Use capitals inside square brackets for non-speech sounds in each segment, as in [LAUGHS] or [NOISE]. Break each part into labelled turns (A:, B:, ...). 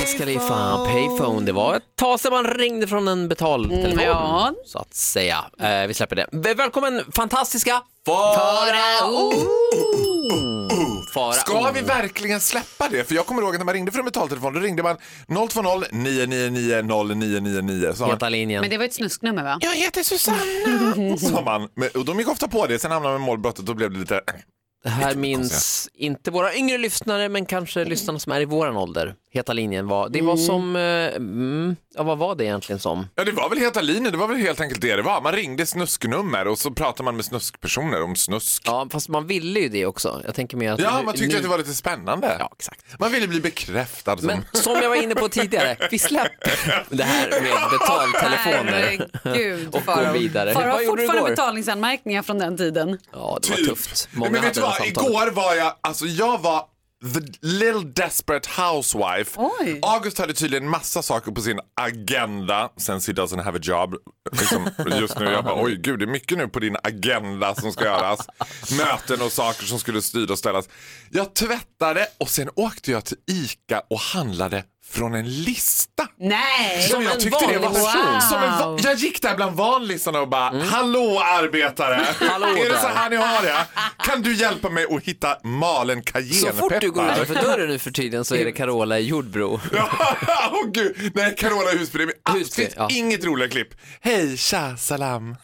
A: Wiz Khalifa, Payphone. Det var ett tag sedan man ringde från en betaltelefon.
B: ja.
A: Så att säga. Eh, vi släpper det. V- Välkommen fantastiska Farao! Farao.
C: Ska vi verkligen släppa det? För jag kommer ihåg att när man ringde från en betaltelefon då ringde man 020 999 0999. Så sa man,
A: Heta linjen.
B: Men det var ett snusknummer va?
C: jag
A: [LAUGHS]
C: heter Susanna. sa man. Men, och de gick ofta på det. Sen hamnade man i målbrottet och då blev det lite...
A: Det här minns inte våra yngre lyssnare, men kanske
B: Mm.
A: lyssnarna som är i våran ålder. Heta linjen var, det var som, eh, mm, ja vad var det egentligen som?
C: Ja, det var väl heta linjen. Det var väl helt enkelt det det var. Man ringde snusknummer och så pratade man med snuskpersoner om snusk. Ja,
A: Ja, fast man ville ju det också. Jag tänker mer att...
C: man tyckte att det var lite spännande.
A: Ja, exakt.
C: Man ville bli bekräftad. Som...
A: Men som jag var inne på tidigare, vi släpper det här med betaltelefoner.
B: Herregud.
A: Och gå
B: Farao.
A: vidare.
B: Farao
A: Vad
B: har
A: gjorde du
B: fortfarande
A: igår?
B: betalningsanmärkningar från den tiden.
A: Ja, det var tufft. Många
C: Typ. Men vet
A: hade
C: du
A: det här
C: vad,
A: samtalet.
C: igår var jag, alltså jag var the little desperate housewife.
B: Oj.
C: August hade tydligen massa saker på sin agenda sen she doesn't have a job. Liksom, just nu, jag bara oj gud det är mycket nu på din agenda som
A: [LAUGHS]
C: ska göras. Möten och saker som skulle styra och ställas. Jag tvättade och sen åkte jag till ICA och handlade från en lista.
B: Nej!
C: Som jag
A: en
C: tyckte det var
A: vanlig Mm.
B: person.
C: som en va- Jag gick där bland vanlisarna och bara, hallå arbetare,
A: Hallå
C: är det så
A: där."
C: här ni har det? Kan du hjälpa mig att hitta malen
A: Så fort du går
C: cayennepeppar? [LAUGHS]
A: utanför dörren nu för tiden så är det Carola i Jordbro.
C: Åh gud, nej Carola Husby, det
A: Husby,
C: finns
A: ja.
C: inget roligare klipp. Hej, tja, salam.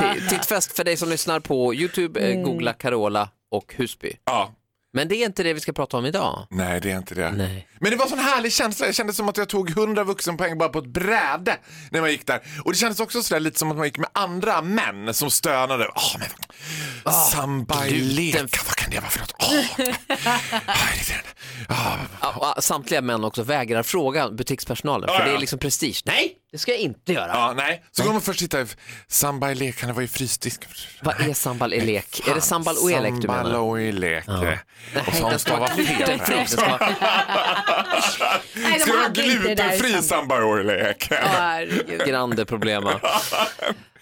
A: T- Tittfest för dig som lyssnar på YouTube, eh, googla Carola och Husby.
C: ja.
A: Men det är inte det vi ska prata om idag.
C: Nej, det är inte det.
A: Nej.
C: Men det var sån härlig känsla. Jag kände som att jag tog 100 vuxenpoäng bara på ett bräde när man gick där. Och det kändes också sådär lite som att man gick med andra män som stönade. Ah, men vad... Sambaileka,
A: Ah, gluten-
C: vad kan det vara för något? Åh, Ah, irriterande. Ah,
A: Ja, och Samtliga män också vägrar fråga butikspersonalen, för
C: Ja, ja.
A: det är liksom prestige. Nej, det ska jag inte göra.
C: Ja, nej. Så går man först och tittar. Sambaileka, det var ju frysdisk.
A: Vad är sambal elek? Är det sambal och elek du
C: Sambal
A: menar?
C: och elek. Och
A: Nej,
C: som
A: den
C: ska
A: ska
C: vara
A: vara glutenfri. Den
C: fel.
A: ska [LAUGHS] vara-
B: Nej,
C: Ska det vara
B: hade inte det där
C: glutenfri
B: samtalet.
C: sambal och elek?
B: Ja, herregud.
A: Grande problema.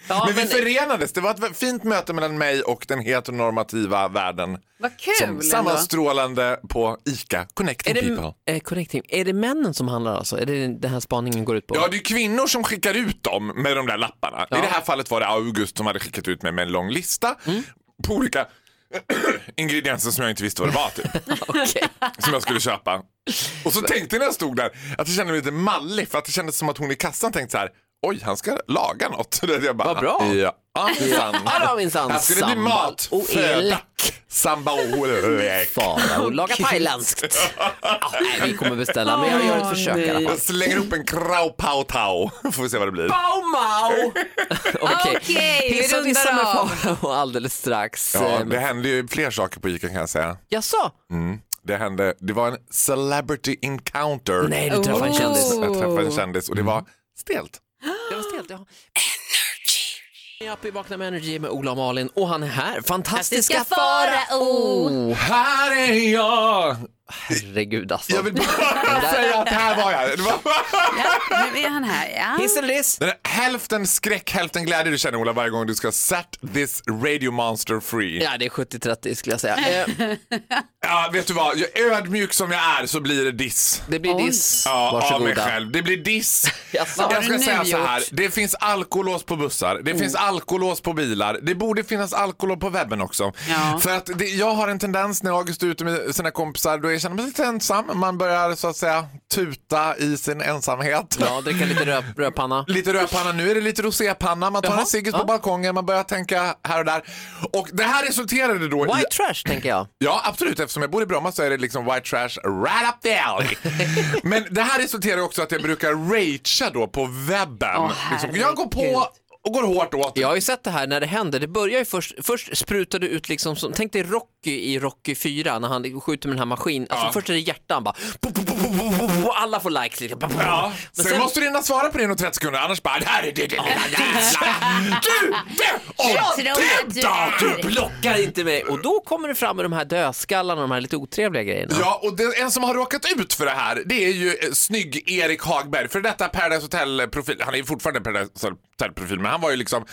A: Ja,
C: men,
A: men
C: vi förenades. Det var ett fint möte mellan mig och den heteronormativa världen.
B: Vad kul
C: Som
B: ändå.
C: sammanstrålande på ICA, connecting
A: är det,
C: people.
A: eh, correct team. är det männen som handlar alltså? Är det den här spaningen går ut på?
C: Ja, det är kvinnor som skickar ut dem med de där lapparna. I det här fallet var det August som hade skickat ut mig med en lång lista
A: Mm.
C: på olika [CLEARS THROAT] ingredienser som jag inte visste vad det var typ.
A: [LAUGHS] Okej.
C: som jag skulle köpa. Och så tänkte jag när jag stod där att jag kände mig lite mallig för att det kändes som att hon i kassan tänkte så här Oj, han ska laga något. [LAUGHS] Jag bara,
A: Vad bra.
C: Ja, minsann.
A: Ja, då minsann.
C: Här ska det bli
A: Sambal
C: mat,
A: och
C: föda,
A: elek.
C: samba och elek.
A: Fara och laga thailändskt. Ja, nej, vi kommer beställa, men jag gör ett försök i alla fall.
C: Jag slänger upp en krau pau tau. [LAUGHS] Får vi se vad det blir.
A: Bow Mau! [LAUGHS] Okej,
B: Okej, vi
A: Hissa och dissa
B: rundar
A: med
B: av.
A: [LAUGHS] Farao alldeles strax.
C: Ja,
A: Eh,
C: det hände ju fler saker på ICA kan jag säga.
A: Jaså?
C: Det hände, det var en celebrity encounter.
A: Nej, du träffade en
B: Oh.
A: kändis. Mm.
C: Jag träffade en kändis och det var stelt.
A: Det var stelt, ja. Energy! Jag är uppe i Vakna med Energy med Ola och Malin och han är här. Fantastiska
B: Fantastiska Farao.
C: Här är jag!
A: Herregud alltså.
C: Jag vill
A: [LAUGHS]
C: bara säga att här var jag. Det var...
B: Ja, nu är han här. Ja.
A: Hiss eller diss?
C: Den här hälften skräck, hälften glädje du känner Ola varje gång du ska set this radio monster free. Ja.
A: Ja, det är 70-30 skulle jag säga. Eh,
C: vet du vad, jag ödmjuk som jag är så blir det diss.
A: Det blir
B: Oj.
A: diss.
C: Ja, av mig
A: Varsågoda.
C: själv. Det blir
A: [LAUGHS]
C: diss.
A: Jaså.
C: jag
B: Har
C: ska
B: du
C: säga
B: nu
C: så här,
B: gjort?
C: det finns alkolås på bussar,
A: Mm.
C: det finns alkolås på bilar, det borde finnas alkolås på webben också.
B: Ja.
C: För att det, jag har en tendens när August är ute med sina kompisar, då jag känner man sig lite ensam, man börjar så att säga tuta i sin ensamhet.
A: Ja, dricka lite röd- rödpanna.
C: [LAUGHS] Lite rödpanna, nu är det lite rosépanna, man tar
A: Jaha,
C: en ciggis
A: ja.
C: på balkongen, man börjar tänka här och där. Och det här resulterade då i...
A: White trash tänker jag.
C: Ja, absolut. Eftersom jag bor i Bromma så är det liksom white trash right up the alley. Men det här resulterar också att jag brukar ragea då på webben.
B: Åh,
C: liksom, jag går
B: herregud.
C: på och går hårt åt.
A: Jag har ju sett det här när det händer. Det börjar ju först, först sprutar det ut liksom, som, tänk dig Rocky i Rocky 4 när han skjuter med den här maskinen. Alltså
C: Ja.
A: först är det hjärtan bara, bo, bo, bo, bo, bo, bo, bo, alla får likes. Liksom. Bo, bo, bo.
C: Ja,
A: Men
C: sen, måste du hinna svara på det inom 30 sekunder annars bara det här är det, det, det, Du! Du!
B: Jag
C: Och
B: tror att du
C: du! då,
B: är-
C: du!
A: du blockar inte mig och då kommer det fram med de här dödskallarna, de här lite otrevliga grejerna.
C: Ja, och det, en som har råkat ut för det här, det är ju eh, snygg Erik Hagberg, för detta Paradise Hotel-profil. Han är ju fortfarande Paradise Hotel-profil, men han var ju liksom,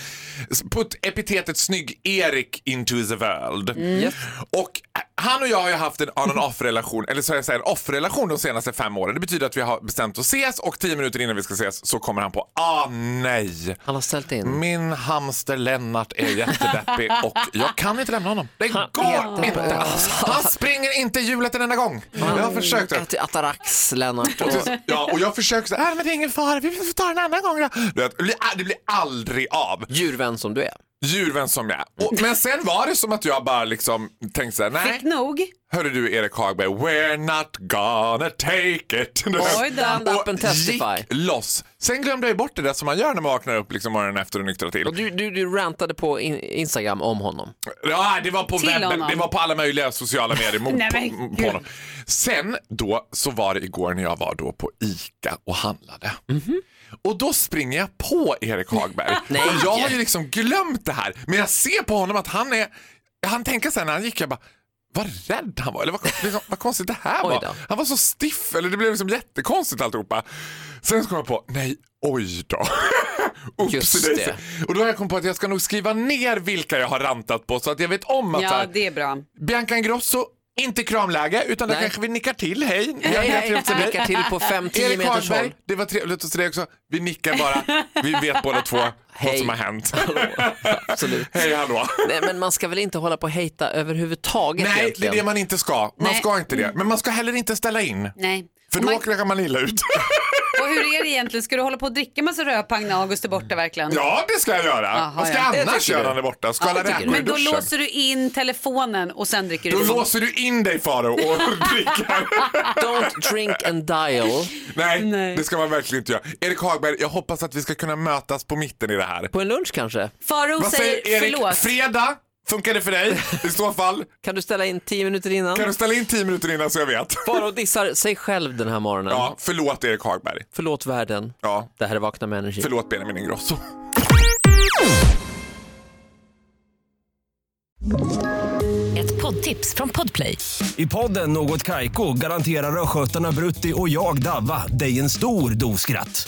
C: s- put epitetet snygg Erik into the world. Och eh, han och jag har ju haft en on and off-relation, eller så jag säger en off-relation de senaste fem åren. Det betyder att vi har bestämt att ses och tio minuter innan vi ska ses så kommer han på, ah nej,
A: Han har ställt in.
C: min hamster Lennart är
A: [LAUGHS]
C: jättedeppig och jag kan inte lämna honom. Det
A: Han
C: går
A: äter
C: inte.
A: bara.
C: Han springer inte i hjulet en enda gång. Jag har försökt. det.
A: Äter Atarax, Lennart.
C: Och så- Ja, och jag försöker säga, äh, men det är ingen fara, vi får ta det en annan gång då. Du vet, Det blir- det blir aldrig av.
A: Djurvän som du är.
C: Djurvän som jag är. Och, Men sen var det som att jag bara liksom tänkte så här, nej.
B: Fick nog.
C: Hörru du Erik Hagberg, we're not gonna take it. [LAUGHS]
B: Oj då.
A: Stand up and
C: Och gick
A: testify.
C: loss. Sen glömde jag ju bort det där som man gör när man vaknar upp liksom morgonen efter och nyktrar till.
A: Och du, du, du rantade på in, Instagram om honom.
C: Ja, det var på
B: Till
C: webben,
B: honom.
C: det var på alla möjliga sociala medier. Mot,
B: Nej, men
C: på, på
B: gud.
C: honom. Sen då så var det igår när jag var då på ICA och handlade. Och då springer jag på Erik Hagberg.
A: Nej.
C: och jag har ju liksom glömt det här. Men jag ser på honom att han är, han tänker sen när han gick, jag bara vad rädd han var, eller vad, [LAUGHS] liksom, vad konstigt det här
A: Oj
C: var.
A: då.
C: Han var så stiff, eller det blev liksom jättekonstigt alltihopa. Sen så kom jag på, nej, oj då. [LAUGHS] Oops,
A: Just
C: det är
A: det.
C: så- och då har jag kommit på att jag ska nog skriva ner vilka jag har rantat på så att jag vet om att så
B: Ja,
C: här,
B: det är bra.
C: Bianca Ingrosso, inte kramläge utan då
A: Nej.
C: kanske vi nickar till, hej. Jag
A: Jag
C: nickar till till dig.
A: blickar till på 5-10
C: Erik
A: meters
C: Hagberg,
A: håll.
C: det var trevligt att se dig också. Vi nickar bara, vi vet båda två vad
A: Hej.
C: som har hänt. [LAUGHS]
A: Absolut.
C: Hej hallå.
A: Nej, men man ska väl inte hålla på och hejta överhuvudtaget
C: Nej, det är
A: egentligen?
C: det man inte ska. Man
B: Nej.
C: ska inte det. Men man ska heller inte ställa in.
B: Nej.
C: För
B: Och,
C: då
B: man,
C: åker man illa ut. [LAUGHS]
B: och hur är det egentligen? Ska du hålla på och dricka massa rödpang när August är borta verkligen?
C: Ja, det ska jag göra.
B: Jaha,
C: vad ska
B: ja.
C: jag
A: Det
C: annars
A: tycker
C: göra
A: du.
C: när han är borta? Skala
A: Ja, det tycker
C: räkor i
B: Men då
C: duschen?
B: låser du in telefonen och sen dricker
C: Då
B: du.
C: låser du in dig Faro och [LAUGHS] dricker.
A: Don't drink and dial
C: Nej,
B: Nej.
C: det ska man verkligen inte göra. Erik Hagberg, jag hoppas att vi ska kunna mötas på mitten i det här.
A: på en lunch kanske.
B: Faro
C: Vad
B: säger,
C: säger Erik?
B: förlåt.
C: Fredag? Funkar det för
B: [LAUGHS]
C: dig? I så fall,
A: Kan du ställa in 10 minuter innan?
C: kan du ställa in 10 minuter innan så jag vet?
A: Bara och dissar sig själv den här morgonen.
C: Ja, förlåt Erik Hagberg.
A: Förlåt världen.
C: Ja,
A: Det här är Vakna med energi.
C: förlåt Benjamin Ingrosso.
D: Ett poddtips från Podplay.
E: I podden Något Kaiko garanterar östgötarna Brutti och jag, Davva, dig en stor dos skratt.